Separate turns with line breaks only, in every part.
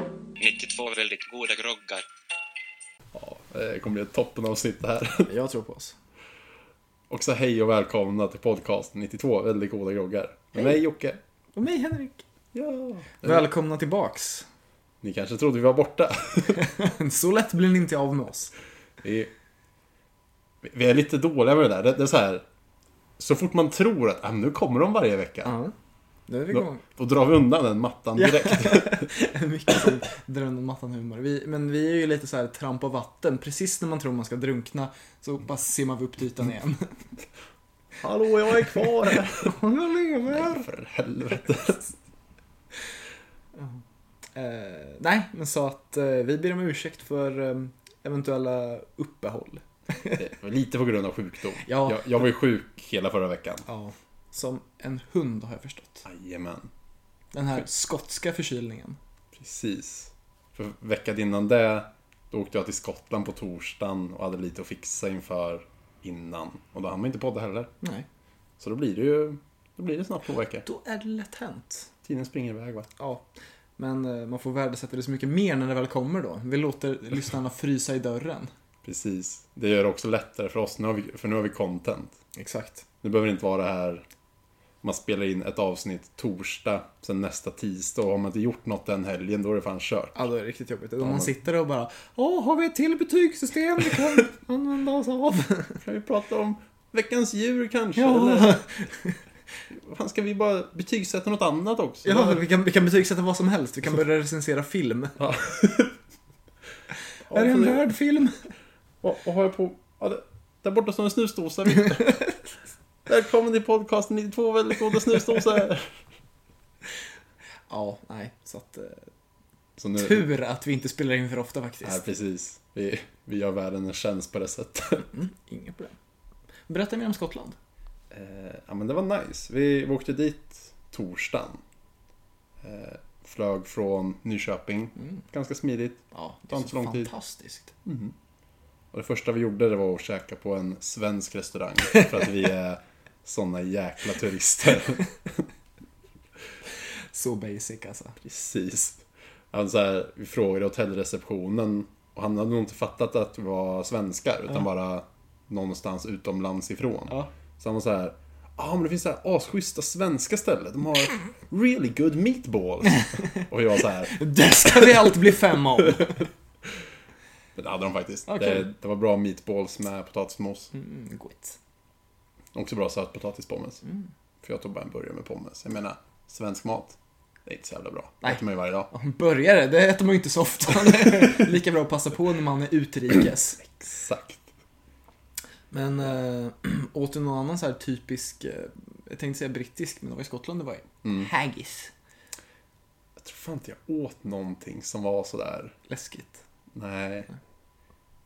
92 väldigt goda groggar.
Ja, det Eh, kommer bli ett toppenavsnitt det här.
Jag tror på oss.
Också hej och välkomna till podcast 92, väldigt goda groggar. Med mig Jocke.
Och mig Henrik.
Ja.
Välkomna tillbaks.
Ni kanske trodde vi var borta.
Så lätt blir ni inte av med oss.
Vi, vi är lite dåliga med det där. Det, det är så här. Så fort man tror att ah, men nu kommer de varje vecka.
Ja. Nu är vi
Då,
igång.
då drar vi undan den mattan direkt.
Mycket som drömde om mattan humor. Vi, men vi är ju lite så här tramp och vatten. Precis när man tror man ska drunkna så bara simmar vi upp till ytan igen.
Hallå, jag är kvar här.
Jag lever!
Nej, för helvete.
Eh, nej, men så att eh, vi ber om ursäkt för eh, eventuella uppehåll.
Det var Lite på grund av sjukdom.
Ja.
Jag, jag var ju sjuk hela förra veckan.
Ja. Som en hund har jag förstått.
Jajamän.
Den här skotska förkylningen.
Precis. För veckan innan det, då åkte jag till Skottland på torsdagen och hade lite att fixa inför innan. Och då hann man inte podda heller.
Nej.
Så då blir det ju, då blir det snart två veckor.
Då är det lätt hänt.
Tiden springer iväg va?
Ja, men eh, man får värdesätta det så mycket mer när det väl kommer då. Vi låter lyssnarna frysa i dörren.
Precis. Det gör det också lättare för oss, nu har vi, för nu har vi content.
Exakt.
Nu behöver det inte vara det här, man spelar in ett avsnitt torsdag, sen nästa tisdag och har man inte gjort något den helgen då är det fan kört.
Ja, då är det riktigt jobbigt. Om
men-
man sitter och bara Åh, har vi ett till betygssystem vi kan använda oss av?
Kan vi prata om veckans djur kanske?
ja,
fan, ska vi bara betygsätta något annat också?
ja vi, kan, vi kan betygsätta vad som helst. Vi kan börja recensera film.
Ja.
är det en
för-
röd film?
Vad, vad har jag på? Ja, det, där borta står en snusdosa. Välkommen till podcasten 92 väldigt goda snusdosor.
Ja, nej. Så att, eh,
Så nu,
tur att vi inte spelar in för ofta faktiskt.
Nej, precis. Vi, vi gör världen en tjänst på det sättet.
Mm, inga problem. Berätta mer om Skottland.
Eh, ja, men det var nice. Vi, vi åkte dit torsdagen. Eh, flög från Nyköping.
Mm.
Ganska smidigt.
Ja, det
Tar
är
inte
så
lång tid.
fantastiskt.
Och det första vi gjorde det var att käka på en svensk restaurang. För att vi är såna jäkla turister.
Så basic alltså.
Precis. Han så här, vi frågade hotellreceptionen och han hade nog inte fattat att vi var svenskar utan bara någonstans utomlands ifrån.
Ja.
Så han var så här, ja men det finns så här asschyssta svenska ställen. De har really good meatballs. och jag så här,
Det ska vi allt bli fem av!
men det hade de faktiskt.
Okej.
Det, det var bra meatballs med potatismos.
Mm, gott.
Också bra sötpotatispommes.
Mm.
För jag tog bara en burgare med pommes. Jag menar, svensk mat, det är inte så jävla bra. Det
Nej.
äter man ju varje dag.
Ja, Burgare, det äter man ju inte så ofta. Det är Lika bra att passa på när man är utrikes.
Exakt.
Men äh, åt du någon annan så här typisk, eh, jag tänkte säga brittisk, men det var i Skottland det var ju. Haggis.
Jag tror fan inte jag åt någonting som var sådär
Läskigt.
Nej.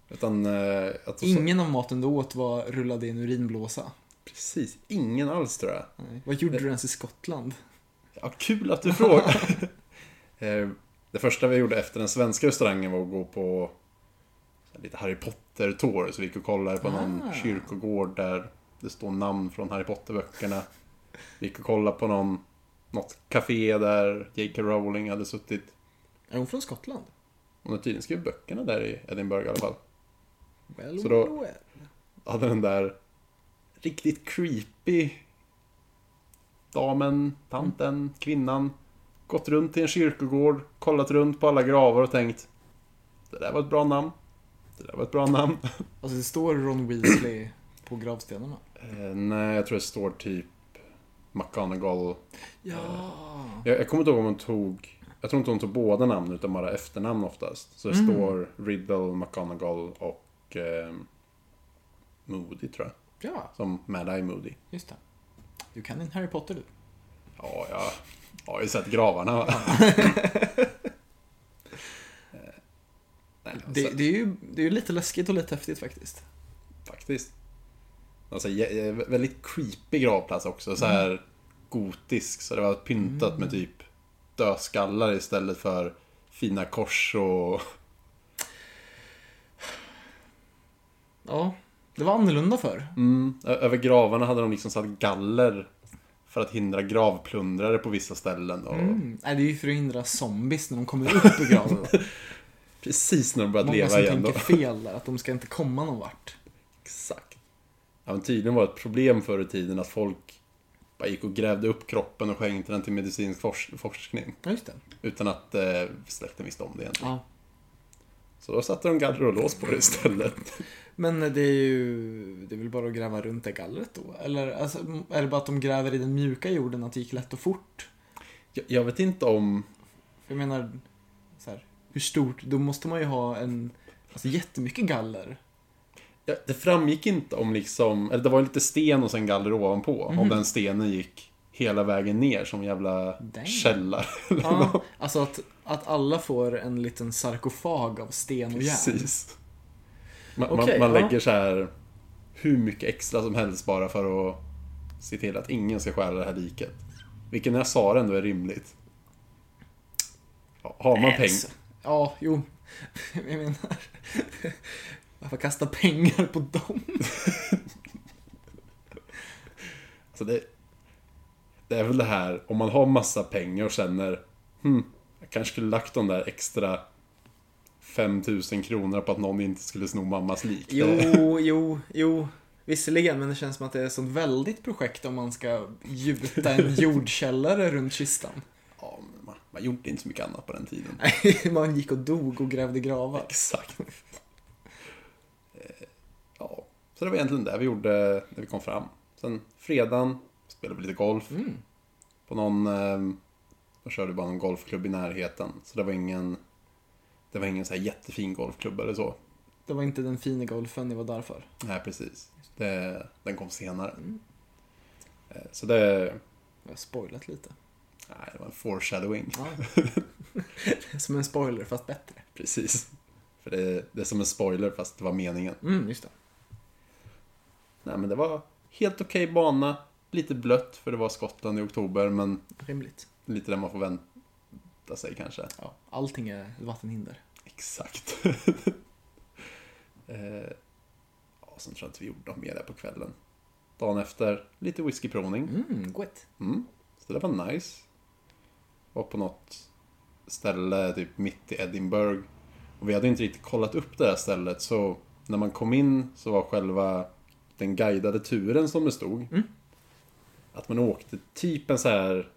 Utan eh, jag tror så,
Ingen av maten du åt var rullad i en urinblåsa.
precis ingen alls tror jag.
Nej. Vad gjorde du ens i Skottland?
Ja, kul att du frågar. Eh, det första vi gjorde efter den svenska restaurangen var att gå på så här lite Harry Potter-tour. Så vi gick och kollade på någon
Ah.
kyrkogård där det står namn från Harry Potter-böckerna. Vi gick och kollade på någon, något café där J.K. Rowling hade suttit.
Är hon från Skottland?
Hon har tydligen skrivit böckerna där i Edinburgh i alla fall.
Well,
Så då-
well, well.
hade den där riktigt creepy damen, tanten, kvinnan gått runt till en kyrkogård, kollat runt på alla gravar och tänkt Det där var ett bra namn. Det där var ett bra namn.
Alltså det står Ron Weasley på gravstenarna.
Eh, nej, jag tror det står typ McGonagall.
Ja.
Jag, jag kommer inte ihåg om hon tog Jag tror inte hon tog båda namn utan bara efternamn oftast. Så det
Mm.
står Riddle, McGonagall och eh, Moody tror jag.
Ja,
Som Mad-Eye Moody.
just det. Du kan en Harry Potter du.
Ja, jag har ju sett gravarna. Va? Eh, Nej,
Det,
alltså,
det, är ju, det är ju lite läskigt och lite häftigt faktiskt.
faktiskt. Alltså, jä- jä- väldigt creepy gravplats också. Så här
Mm.
gotisk. Så det var pyntat med typ dödskallar istället för fina kors och...
Ja, det var annorlunda förr.
Mm, ö- över gravarna hade de liksom satt galler För att hindra gravplundrare på vissa ställen. Och
Mm. Nej, det är ju för att hindra zombies när de kommer upp ur graven.
Precis när de börjat
Många
leva
som
igen. Då.
tänker fel där, att de ska inte komma någon vart.
Exakt. Ja, men tydligen var det ett problem förr i tiden att folk bara gick och grävde upp kroppen och skänkte den till medicinsk fors- forskning.
Ja, just det.
Utan att eh, släkten visste om det egentligen.
Ja.
Så då satte de galler och lås på det istället.
Men det är ju, det är väl bara att gräva runt det gallret då? Eller alltså, är det bara att de gräver i den mjuka jorden, att det gick lätt och fort?
Jag, jag vet inte om...
För jag menar, så här, hur stort? Då måste man ju ha en, alltså jättemycket galler.
Ja, det framgick inte om liksom... Eller det var ju lite sten och sen galler ovanpå. Om den stenen gick hela vägen ner som en jävla
Dang.
källare. eller något.
Ja, alltså att, att alla får en liten sarkofag av sten och järn.
Precis. Man,
Okej,
man, man
ja.
lägger så här hur mycket extra som helst bara för att se till att ingen ska stjäla det här liket. Vilket när jag sa det ändå är rimligt. Ja, Har man pengar?
Alltså, Ja, jo. Jag menar, varför kasta pengar på dem?
Alltså det, det är väl det här, om man har massa pengar och känner hmm, jag kanske skulle lagt de där extra 5000 kronor på att någon inte skulle sno mammas lik. Det,
Jo, jo, jo. Visserligen, men det känns som att det är ett sånt väldigt projekt om man ska gjuta en jordkällare runt kistan.
ja, men man, man gjorde inte så mycket annat på den tiden.
Nej, man gick och dog och grävde gravar.
Exakt. Eh, ja, så det var egentligen det vi gjorde när vi kom fram. Sen fredagen spelade vi lite golf. På någon, eh, då körde vi bara någon golfklubb i närheten. Så det var ingen, det var ingen så här jättefin golfklubb eller så.
Det var inte den fina golfen ni var där för. Mm,
Nej, precis. Det, den kom senare. Eh, så det,
Jag har spoilat lite.
nej, det var en foreshadowing.
Ja. som en spoiler, fast bättre.
Precis. För det, det är som en spoiler fast det var meningen.
Mm, just det.
Nej, men det var helt okej bana. Lite blött för det var Skottland i oktober, men
Rimligt.
lite där man får vänta sig kanske.
Ja, allting är vattenhinder.
Exakt. eh, ja, sen tror jag inte vi gjorde något mer där på kvällen. Dagen efter, lite whiskyprovning.
Mm, gott.
Mm. Så det var nice. Var på något ställe typ mitt i Edinburgh. Och vi hade inte riktigt kollat upp det här stället så när man kom in så var själva den guidade turen som det stod. Att man åkte typ en så här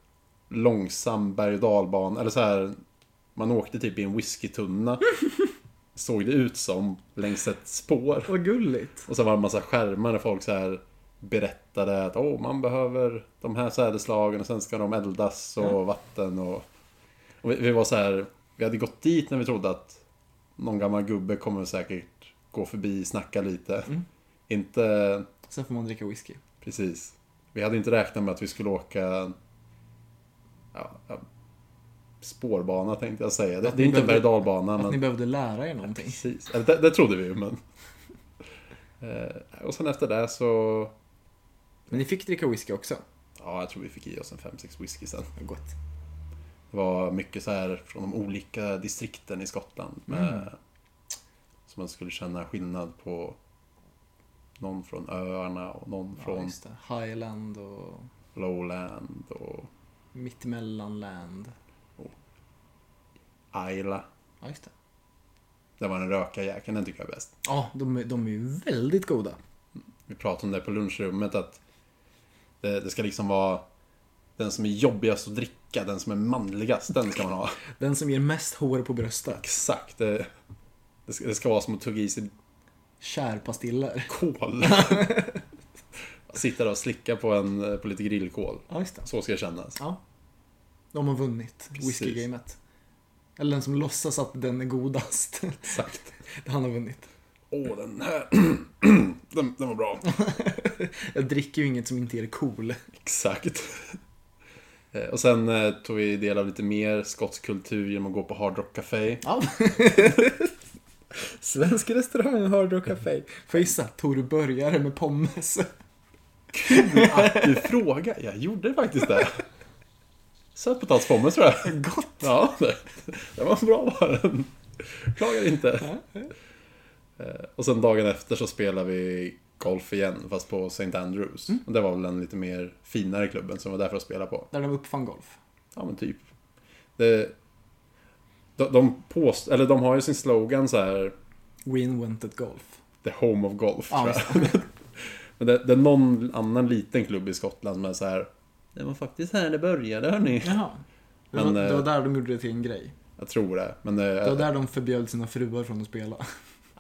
långsam berg och dalbana eller så här man åkte typ i en whiskytunna. Såg det ut som längs ett spår.
Vad gulligt.
Och sen var det en massa skärmar där folk så här berättade att åh, man behöver de här sädesslagen och sen ska de eldas och vatten och... och vi, vi var så här, vi hade gått dit när vi trodde att någon gammal gubbe kommer säkert gå förbi, snacka lite. Inte
Sen får man dricka whisky.
Precis. Vi hade inte räknat med att vi skulle åka ja, ja, spårbana tänkte jag säga. Det,
Att
det är
ni
inte en berg och
behövde-
dalbana.
Att
men-
ni behövde lära er någonting.
Precis. Eller Det, det trodde vi ju, men... Eh, och sen efter det så...
Men ni fick dricka whisky också.
Ja, jag tror vi fick i oss en 5-6 whisky sen.
Gott.
Det var mycket så här från de olika distrikten i Skottland. Med,
Mm.
Så man skulle känna skillnad på någon från öarna och någon
Ja,
från
just det. Highland och
Lowland och
Mittmellanland.
Isla.
Ja, just det.
Det var den röka jäkeln, den tycker jag är bäst.
Ja, de, är- de är ju väldigt goda.
Vi pratade om det på lunchrummet att det, det ska liksom vara den som är jobbigast att dricka, den som är manligast, den ska man ha.
Den som ger mest hår på bröstet.
Exakt. Det, det, ska, det ska vara som att tugga i sig
Kärpastiller.
kol. Sitta där och slicka på, en, på lite grillkol.
Ja, just det.
Så ska det kännas.
Ja. De har vunnit
Precis.
whiskygamet. Eller den som låtsas att den är godast.
Exakt.
Han har vunnit.
Åh, den här... den, den var bra.
Jag dricker ju inget som inte är cool.
Exakt. Eh, Och sen eh, tog vi del av lite mer skotsk kultur genom att gå på Hard Rock Café.
Ja. Svensk restaurang, Hard Rock Café. Får jag gissa? Tog du burgare med pommes?
Att du frågar. Jag gjorde faktiskt det. Sötpotatispommes tror jag.
Gott!
Ja, det, det var en bra var den. Klagar inte. Eh, Och sen dagen efter så spelade vi golf igen, fast på St. Andrews.
Mm.
Och det var väl den lite mer finare klubben som var där för att spela på.
Där de uppfann golf.
Ja, men typ. Det, de, de, påst, eller de har ju sin slogan så här
We invented golf.
The Home of Golf,
Ja,
tror jag. men det, det är någon annan liten klubb i Skottland som är så här Det var faktiskt här det började, hörni.
Jaha. Det
Men,
var, det var
eh,
där de gjorde det till en grej.
Jag tror det. Men det,
Det var där de förbjöd sina fruar från att spela.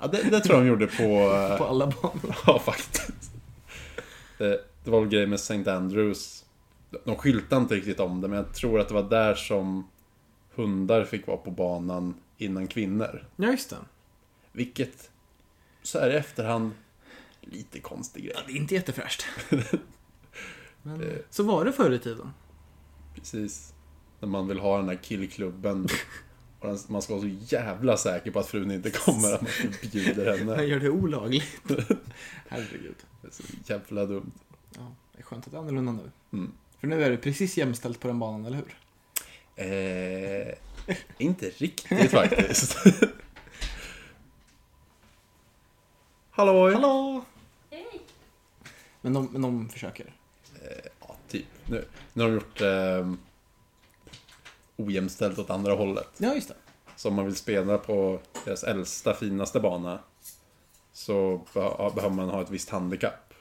ja, det, det tror jag de gjorde på... eh,
På alla banor.
Ja, faktiskt. Det, det var väl grejen med St. Andrews. De skyltade inte riktigt om det, men jag tror att det var där som hundar fick vara på banan innan kvinnor.
Ja, just det.
Vilket, så här i efterhand, lite konstig grej.
Ja, det är inte jättefräscht. Men, eh, så var det förr i tiden.
Precis. När man vill ha den här killklubben. Och den- man ska vara så jävla säker på att frun inte kommer, att man förbjuder
Man
henne.
gör det olagligt. Herregud.
Det är så jävla dumt.
Ja, det är skönt att det är annorlunda nu.
Mm.
För nu är det precis jämställt på den banan, eller hur?
Eh, inte riktigt faktiskt. Hallå!
Hallå! Men de, men de försöker.
Ja, typ. Nu, nu har de gjort eh, ojämställt åt andra hållet.
Ja, just det.
Så om man vill spela på deras äldsta, finaste bana så be- behöver man ha ett visst handikapp.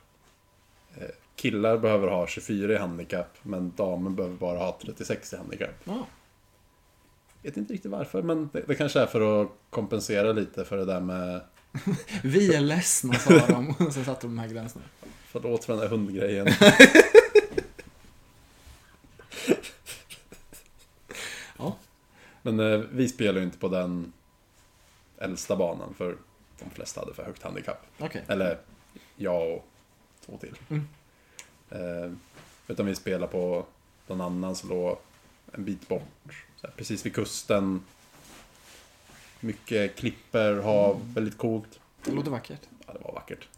Eh, Killar behöver ha 24 i handikapp, men damer behöver bara ha 36 i handikapp.
Ja.
vet inte riktigt varför, men det, det kanske är för att kompensera lite för det där med
Vi är ledsna, sa de. Och sen satte de de här gränserna.
Förlåt för den där hundgrejen.
Ja.
Men eh, vi spelar ju inte på den äldsta banan för de flesta hade för högt handikapp.
Okej.
Eller jag och två till.
Mm.
Eh, utan vi spelar på någon annan som låg en bit bort. Så här, precis vid kusten. Mycket klipper, hav, väldigt coolt.
Det låter vackert.
Ja, det var vackert.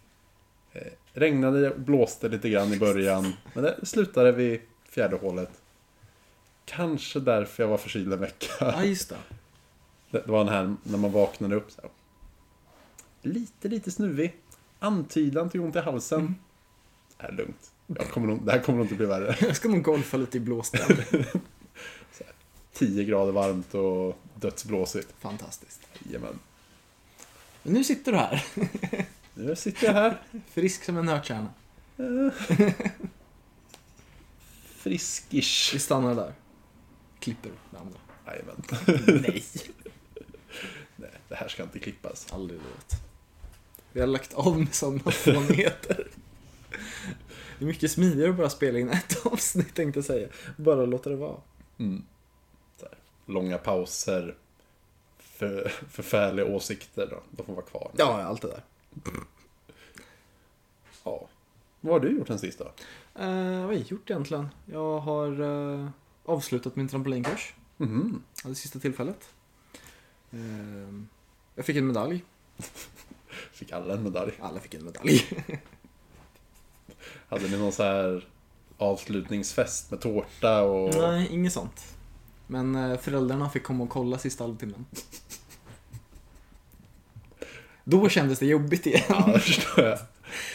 Eh, regnade och blåste lite grann i början, men det slutade vid fjärde hålet. Kanske därför jag var förkyld en
Ja,
vecka.
just det.
Det det var den här när man vaknade upp så här. Lite, lite snuvig. Antydan till ont i halsen. Det här är lugnt. Jag kommer nog, det här kommer nog inte bli värre.
Jag ska nog golfa lite i blåsten.
10 grader varmt och dödsblåsigt.
Fantastiskt.
Jajamän.
Men nu sitter du här.
Nu sitter jag här.
Frisk som en nötkärna. Vi
Friskish.
stannar där. Klipper det andra.
Jajamän.
Nej.
Nej, det här ska inte klippas.
Aldrig i livet. Vi har lagt av med sådana fånigheter. Det är mycket smidigare att bara spela in ett avsnitt tänkte jag säga. Bara låta det vara.
långa pauser, för, förfärliga åsikter. Då. De får vara kvar.
Ja, allt det där.
Ja. Vad har du gjort sen sist då?
Eh, vad har jag gjort egentligen? Jag har eh, avslutat min trampolinkurs.
Mhm.
Ja, Det sista tillfället. Eh, jag fick en medalj.
Fick alla en medalj.
Alla fick en medalj.
Hade ni någon så här avslutningsfest med tårta och...
Nej, inget sånt. Men eh, föräldrarna fick komma och kolla sista halvtimmen. Då kändes det jobbigt igen.
Ja, det förstår jag.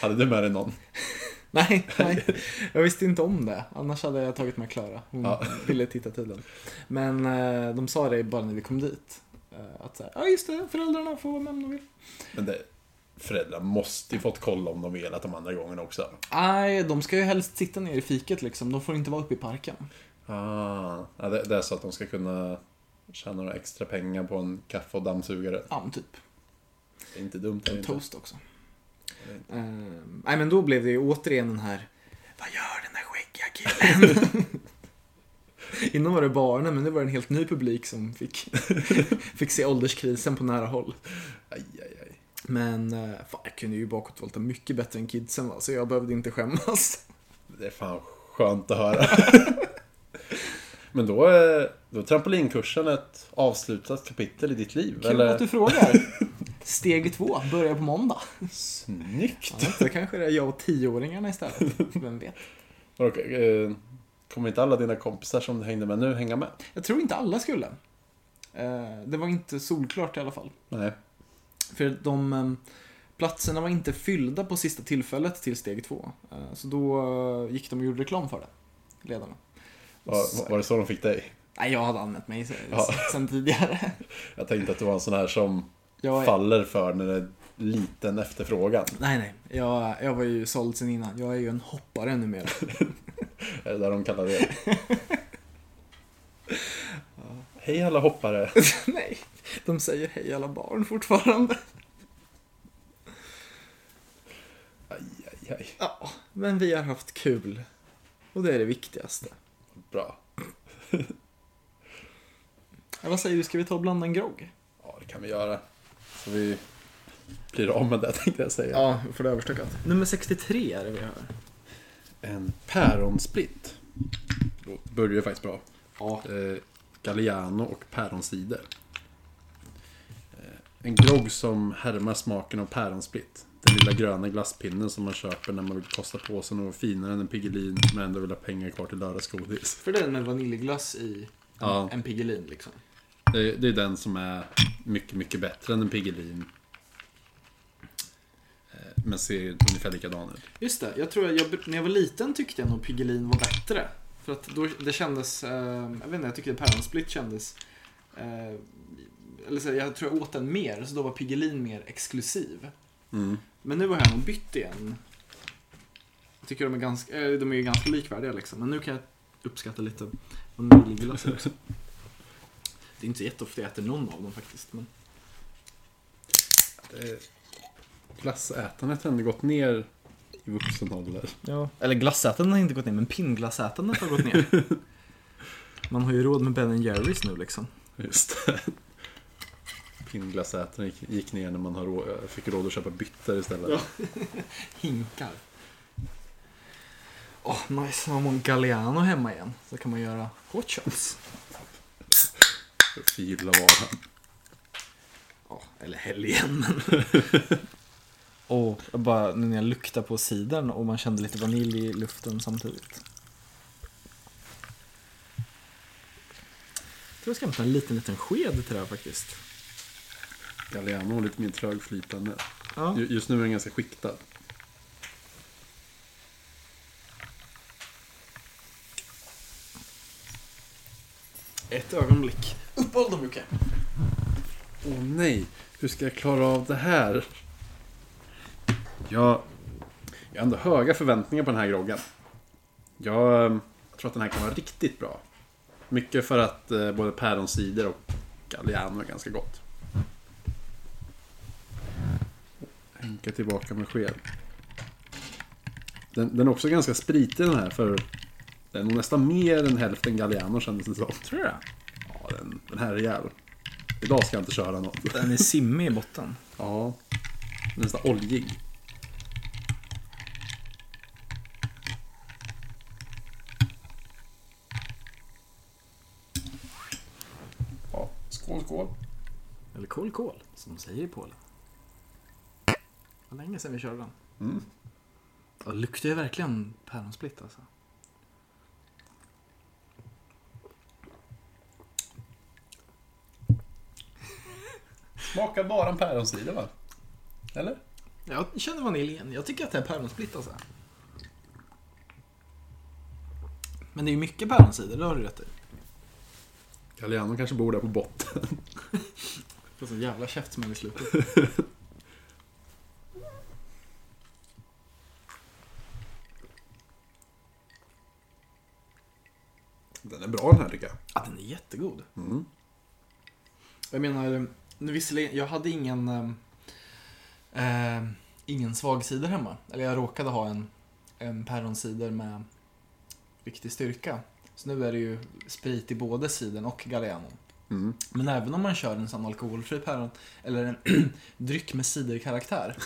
Hade du med dig någon?
Nej, nej, jag visste inte om det. Annars hade jag tagit med Klara. Hon
Ja.
ville titta tydligen. Men eh, de sa det bara när vi kom dit. Eh, Att så här, ja just det, föräldrarna får vara med om de vill.
Men det, föräldrar måste ju fått kolla om de velat de andra gångerna också.
Nej, de ska ju helst sitta ner i fiket liksom. De får inte vara uppe i parken.
Ah, ja, det, det är så att de ska kunna tjäna några extra pengar på en kaffe och dammsugare.
Ja, men typ.
Det är inte dumt. det är
En
inte.
toast också. Eh, Nej, men då blev det ju återigen den här Vad gör den där skäggiga killen? Innan var det barnen, men nu var det en helt ny publik som fick, fick se ålderskrisen på nära håll.
Aj, aj, aj.
Men eh, fan, jag kunde ju bakåtvolta mycket bättre än kidsen va, så jag behövde inte skämmas.
Det är fan skönt att höra. Men då är, då är trampolinkursen ett avslutat kapitel i ditt liv,
Kul
eller?
att du frågar. Steg två börjar på måndag.
Snyggt!
Ja, så kanske det är jag och tioåringarna istället. Vem vet?
Och, eh, kommer inte alla dina kompisar som du hängde med nu hänga med?
Jag tror inte alla skulle. Eh, Det var inte solklart i alla fall.
Nej.
För de, eh, Platserna var inte fyllda på sista tillfället till steg två. Eh, Så då eh, gick de och gjorde reklam för det, ledarna. Och
Var,
så-
var det så de fick dig?
Nej, jag hade anmält mig sen,
Ja.
sen tidigare.
Jag tänkte att du var en sån här som
Jag,
faller för när det är liten efterfrågan.
Nej, nej. Jag, jag var ju såld sen innan. Jag är ju en hoppare numera.
Är det där de kallar det? Hej alla hoppare!
nej, de säger hej alla barn fortfarande.
Aj, aj, aj.
Ja, men vi har haft kul. Och det är det viktigaste.
Bra.
Ja, vad säger du, ska vi ta och blanda en grogg?
Ja, det kan vi göra. Så vi blir av med det tänkte jag säga.
Ja, för det överstökat. Nummer 63 är det vi har.
En päronsplitt. Det börjar ju faktiskt bra.
Ja.
eh, Galliano och päronsider. Eh, en grogg som härmar smaken av päronsplitt. Den lilla gröna glasspinnen som man köper när man vill kosta på sig något finare än en Piggelin men ändå vill ha pengar kvar till lördagsgodis.
För den med vaniljglass i
Ja.
en Piggelin liksom.
Det, det är den som är mycket, mycket bättre än en Piggelin. Eh, men ser ungefär likadan ut.
Just det, jag tror att jag, när jag var liten tyckte jag nog Piggelin var bättre. För att då, det kändes, eh, jag vet inte, jag tyckte Päronsplitt kändes, eh, eller så, här, jag tror jag åt den mer, så då var Piggelin mer exklusiv.
Mm.
Men nu har jag nog bytt igen. Jag tycker de är ganska, eh, de är ju ganska likvärdiga liksom, men nu kan jag uppskatta lite vaniljglass också. Det är inte så jätteofta jag äter någon av dem faktiskt. Men...
Eh, Glassätandet har ändå gått ner i vuxen ålder.
Ja. Eller glassätandet har inte gått ner, men pinnglassätandet har gått ner. Man har ju råd med Ben Jerrys nu liksom.
Just det. Pinnglassätaren gick, gick ner när man har rå, fick råd att köpa byttor istället.
Ja. Hinkar. Åh, nice. Har man Galliano hemma igen så kan man göra hot shots.
Förgylla varan.
Ja, eller helgen. och bara nu när jag luktar på cidern och man kände lite vanilj i luften samtidigt. Jag tror jag ska hämta en liten, liten sked till det här faktiskt.
Galliano är lite mer trögflytande.
Ja.
Ju- Just nu är den ganska skiktad.
Ett ögonblick. Uppehåll dem Jocke!
Åh nej, hur ska jag klara av det här? Jag, jag har ändå höga förväntningar på den här groggen. Jag, eh, tror att den här kan vara riktigt bra. Mycket för att eh, både päronsider och Galliano är ganska gott. Hänka tillbaka med sked. Den, den är också ganska spritig den här för den är nog nästan mer än hälften Galliano kändes det som.
Tror du det?
Ja, den, den här är rejäl. Idag ska jag inte köra något.
Den är simmig i botten.
Ja. Nästan oljig. Ja, skål, skål.
Eller kol kol, som de säger i Polen. Vad länge sedan vi körde den.
Mm.
Ja, Det luktar ju verkligen päronsplitt alltså.
Smakar bara en päronsider va? Eller?
Jag känner vaniljen. Jag tycker att det är päronsplitt alltså. Men det är ju mycket päronsider, det har du rätt i.
Galliano kanske bor där på botten.
Får sån jävla käftsmäll i slutet.
Den är bra den här tycker jag.
Ja, den är jättegod.
Mm.
Jag menar, nu visserligen, jag hade ingen eh, eh, ingen svagsider hemma. Eller jag råkade ha en, en päronsider med riktig styrka. Så nu är det ju sprit i både sidan och Galliano.
Mm.
Men även om man kör en sån alkoholfri päron, eller en dryck med ciderkaraktär,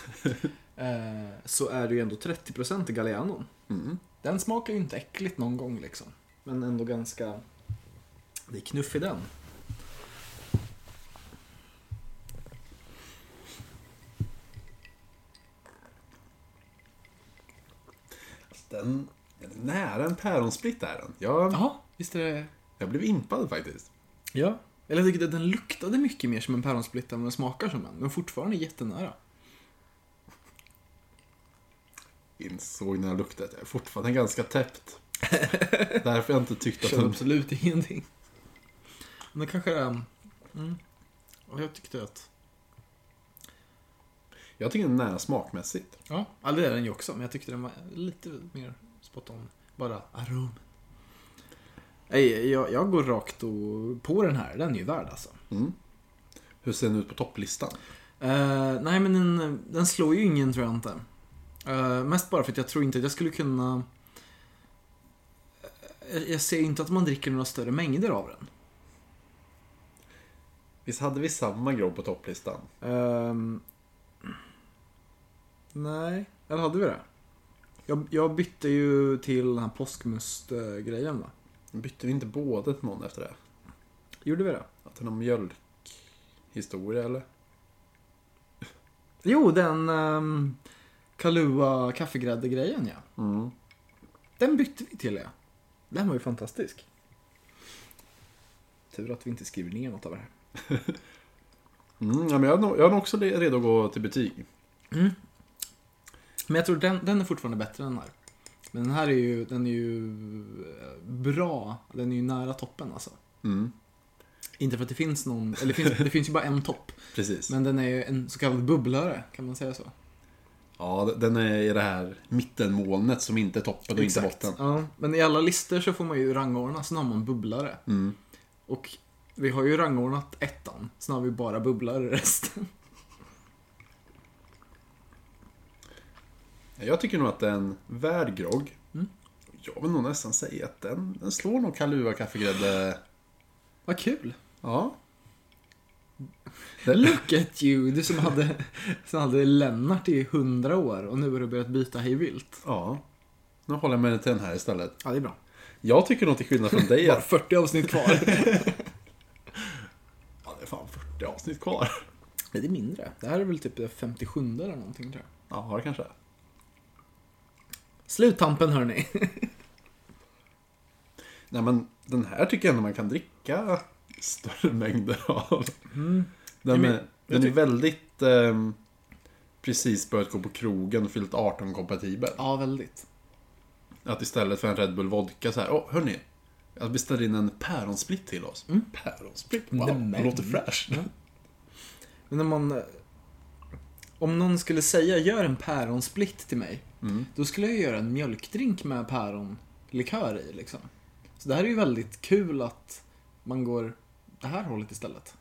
eh, så är det ju ändå 30% i Gallianon.
Mm.
Den smakar ju inte äckligt någon gång liksom. Men ändå ganska... Det är knuff i den.
Den, den är nära en päronsplitt är den. Jag,
Jaha, visst är det...
jag blev impad faktiskt.
Ja. Eller jag tyckte att den luktade mycket mer som en päronsplitt än vad den smakar som en. Men fortfarande jättenära.
insåg när jag luktade att jag är fortfarande ganska täppt. Därför har jag inte tyckt att
Känner
den...
absolut ingenting. Men kanske... ehm, Mm. Och jag tyckte att...
Jag tycker den är nära smakmässigt.
Ja, ja, det är den ju också. Men jag tyckte den var lite mer spot on. Bara arom. Nej, jag, jag går rakt och på den här. Den är ju värd alltså.
Mm. Hur ser den ut på topplistan?
Eh, nej, men den, den slår ju ingen tror jag inte. Eh, mest bara för att jag tror inte att jag skulle kunna... Eh, Jag- Jag ser inte att man dricker några större mängder av den.
Visst hade vi samma grogg på topplistan?
Ehm, nej, eller hade vi det? Jag, jag bytte ju till den här påskmust-grejen va?
Bytte vi inte båda till någon efter det?
Gjorde vi det?
Att den har mjölkhistoria eller?
Jo, den um, Kahlua kaffegrädde-grejen ja.
Mm.
Den bytte vi till ja. Den var ju fantastisk. Tur att vi inte skriver ner något av det här.
Mm, ja, men jag, är nog, jag är nog också le- redo att gå till betyg.
Men jag tror den, den är fortfarande bättre än den här. Men den här är ju, den är ju eh, bra. Den är ju nära toppen alltså.
Mm.
Inte för att det finns någon, eller det finns, det finns ju bara en topp.
Precis.
Men den är ju en så kallad bubblare, kan man säga så?
Ja, d- den är i det här mittenmolnet som inte är toppen och inte botten.
Ja, men i alla listor så får man ju rangordna, sen har man bubblare.
Mm.
Och vi har ju rangordnat ettan, sen har vi bara bubblare resten.
Jag tycker nog att det är en värd grogg. Jag vill nog nästan säga att den, den slår nog Kahlua kaffegrädde.
Vad kul!
Ja.
Look at you, du som hade, som hade Lennart i hundra år och nu har du börjat byta hej vilt.
ja. Nu håller jag mig till den här istället.
Ja, det är bra.
Jag tycker nog till skillnad från dig
Bara
att...
40 avsnitt kvar.
Ja, det är fan 40 avsnitt kvar.
Nej, det är mindre. Det här är väl typ det 57 eller någonting tror jag.
Ja, det kanske är.
Sluttampen hörni.
Nej men den här tycker jag ändå man kan dricka större mängder av. Mm. Den,
men
är, den är väldigt ehm, precis börjat gå på krogen och fyllt 18 kompatibel.
Ja, väldigt.
Att istället för en Red Bull Vodka så här, åh hörni. Jag beställer in en päronsplitt till oss. Päronsplitt? Wow,
Nämen.
det låter fräscht.
Mm. Ja. Men om man... eh, Om någon skulle säga gör en päronsplitt till mig. Då skulle jag ju göra en mjölkdrink med päronlikör i liksom. Så det här är ju väldigt kul att man går det här hållet istället.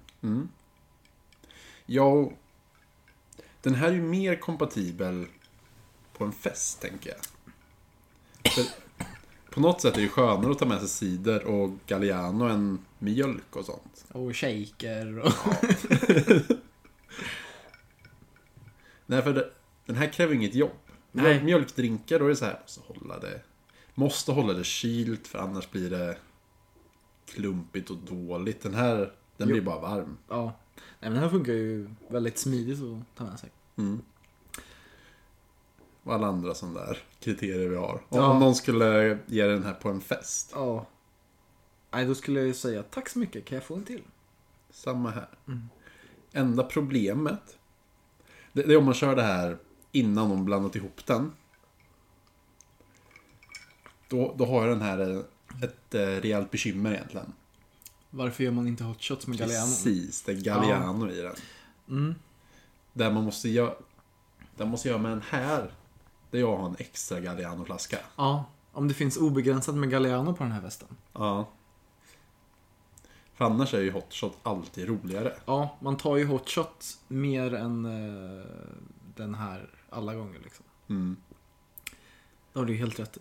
Ja, och den här är ju mer kompatibel på en fest, tänker jag. För på något sätt är det ju skönare att ta med sig cider och Galliano än mjölk och sånt.
Och shaker och...
Nej, för det- den här kräver inget jobb.
Nej.
Nej. Mjölkdrinkar, då är det så här, måste hålla det, måste hålla det kylt för annars blir det klumpigt och dåligt. Den här, den
Jo.
blir bara varm.
Ja. Nej men den här funkar ju väldigt smidigt att ta med sig.
Och alla andra sådana där kriterier vi har. Om,
Ja.
om någon skulle ge den här på en fest.
Ja. Nej, då skulle jag ju säga tack så mycket, kan jag få en till?
Samma här. Enda problemet. Det, det är om man kör det här innan de blandat ihop den. Då, då har jag den här eh, ett eh, rejält bekymmer egentligen.
Varför gör man inte hot shots med Galliano?
Precis, det är Galliano i den. Där man måste göra... Där måste jag med den här. Där jag har en extra Galliano-flaska.
Ja, om det finns obegränsat med Galliano på den här västen.
Ja. För annars är ju hot shot alltid roligare.
Ja, man tar ju hot shot mer än eh, den här alla gånger liksom.
Mm.
Det har du ju helt rätt i.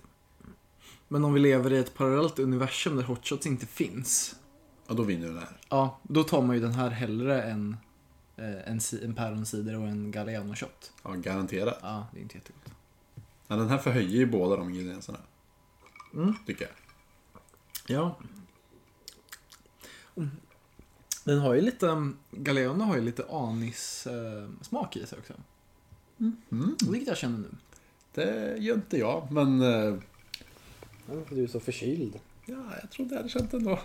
Men om vi lever i ett parallellt universum där hot shots inte finns.
Och då vinner den här.
Ja, då tar man ju den här hellre än eh, en, si- en päronsider och en Galliano shot.
Ja, garanterat.
Ja, det är inte jättegott.
Ja, den här förhöjer ju båda de ingredienserna. Tycker jag.
Ja. Mm. Den har ju lite, Galliano har ju lite anis eh, smak i sig också. Vilket jag känner nu.
Mm. Det gör inte jag, men eh,
Du är så förkyld.
ja, jag trodde jag hade känt ändå.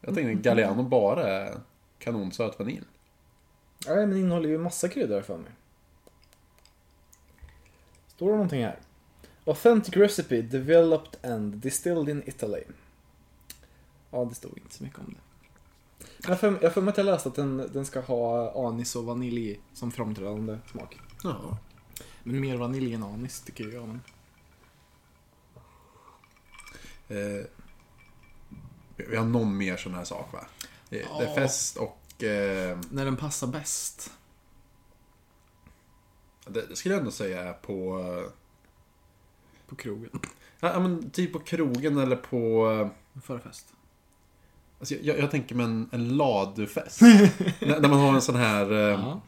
Jag tänkte Galliano bara är kanonsöt vanilj.
Nej, men den innehåller ju massa kryddor för mig. Står det någonting här? Authentic recipe developed and distilled in Italy. Ja, det stod inte så mycket om det. Men Jag får- jag får mig att jag läste att den, den ska ha anis och vanilj som framträdande smak.
Ja.
Men mer vanilj än anis tycker jag. Men...
Eh, vi har någon mer sån här sak va? Det, det
Ja.
är fest och... Eh,
När den passar bäst.
det, det skulle jag ändå säga är på... eh,
På krogen.
Ja, ja, men typ på krogen eller på... eh,
Förfest.
Alltså jag, jag tänker mig en, en ladufest. när, när man har en sån här... Eh,
Ja,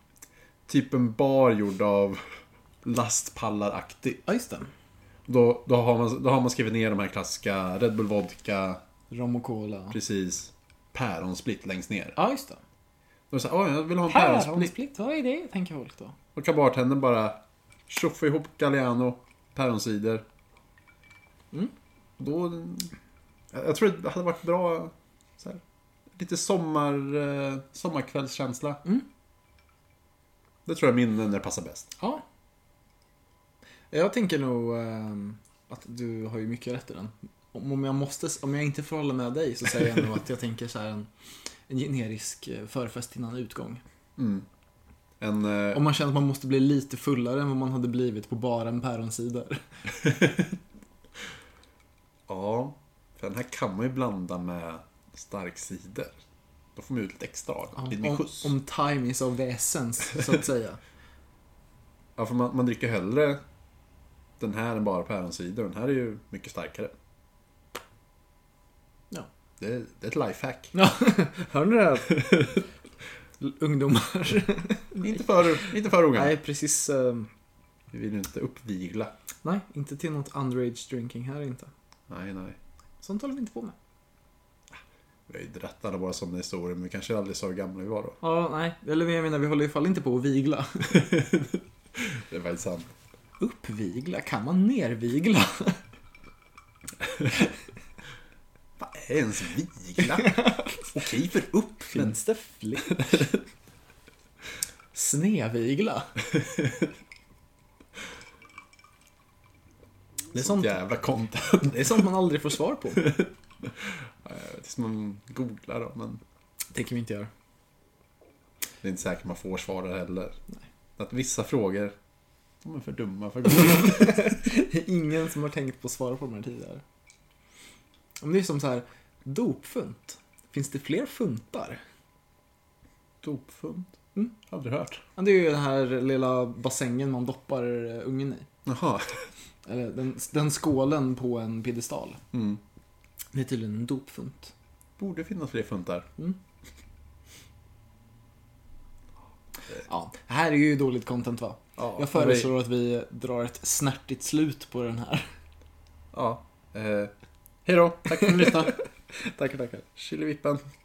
Typ en bar gjord av lastpallaraktig.
ja just det.
Då, då, har man, då har man skrivit ner de här klassiska Red Bull Vodka,
Rom och cola.
precis. Päronsplitt längst ner.
Ja, just det.
Då är det så här, "Åh, jag vill ha en päronsplitt.
vad är det? Tänker folk då.
Då kan bartendern bara tjoffa ihop Galliano, päronsider.
Mm.
Då... Jag jag tror det hade varit bra... Så här, lite sommar, eh, sommarkvällskänsla.
Mm.
Det tror jag är minnen när det passar bäst.
Ja. Jag tänker nog ehm, att du har ju mycket rätt i den. Om om jag, måste, om jag inte får hålla med dig så säger jag nog att jag tänker så här en, en generisk eh, förfest innan utgång.
Mm. En, eh,
Om man känner att man måste bli lite fullare än vad man hade blivit på bara en päronsider.
Ja, för den här kan man ju blanda med stark cider. Då får man ut lite extra av den.
Om,
Lite
om,
skjuts.
om time is of the essence, så att säga.
Ja, för man, man dricker hellre den här än bara päronsider. Den här är ju mycket starkare.
Ja.
Det, det är ett lifehack.
Ja, hör ni det här? Ungdomar.
Inte för, inte för unga.
Nej, precis. ehm,
Vi vill ju inte uppvigla.
nej, inte till något underage drinking här inte.
Nej, nej.
Sånt håller vi inte på med.
Vi har ju dratt alla våra sådana historier, men vi kanske aldrig sa hur gamla vi var då.
Ja, nej. Eller jag menar, vi håller i alla fall inte på att vigla.
Det är faktiskt sant.
Uppvigla? Kan man nervigla?
Vad är ens vigla? Okej för upp. Men
Finns det fler? Snevigla? Det är sånt,
jävla content.
det är sånt man aldrig får svar på.
Tills man googlar då, men...
tänker vi inte göra.
Det är inte säkert man får svar där heller. Att vissa frågor, de är för dumma för Google.
Det är ingen som har tänkt på att svara på de här tidigare. Om det är som så här, dopfunt. Finns det fler funtar?
Dopfund?
Mm.
Aldrig hört.
Ja, Det är ju den här lilla bassängen man doppar eh, ungen i.
Jaha.
Eller den, den skålen på en piedestal.
Mm.
Det är tydligen en dopfunt.
Borde finnas fler funtar.
Ja, det här är ju dåligt content va?
Ja,
Jag föreslår att vi drar ett snärtigt slut på den här.
Ja. Eh, hej då, tack för att ni lyssnade.
Tackar, tackar.
Chilivippen.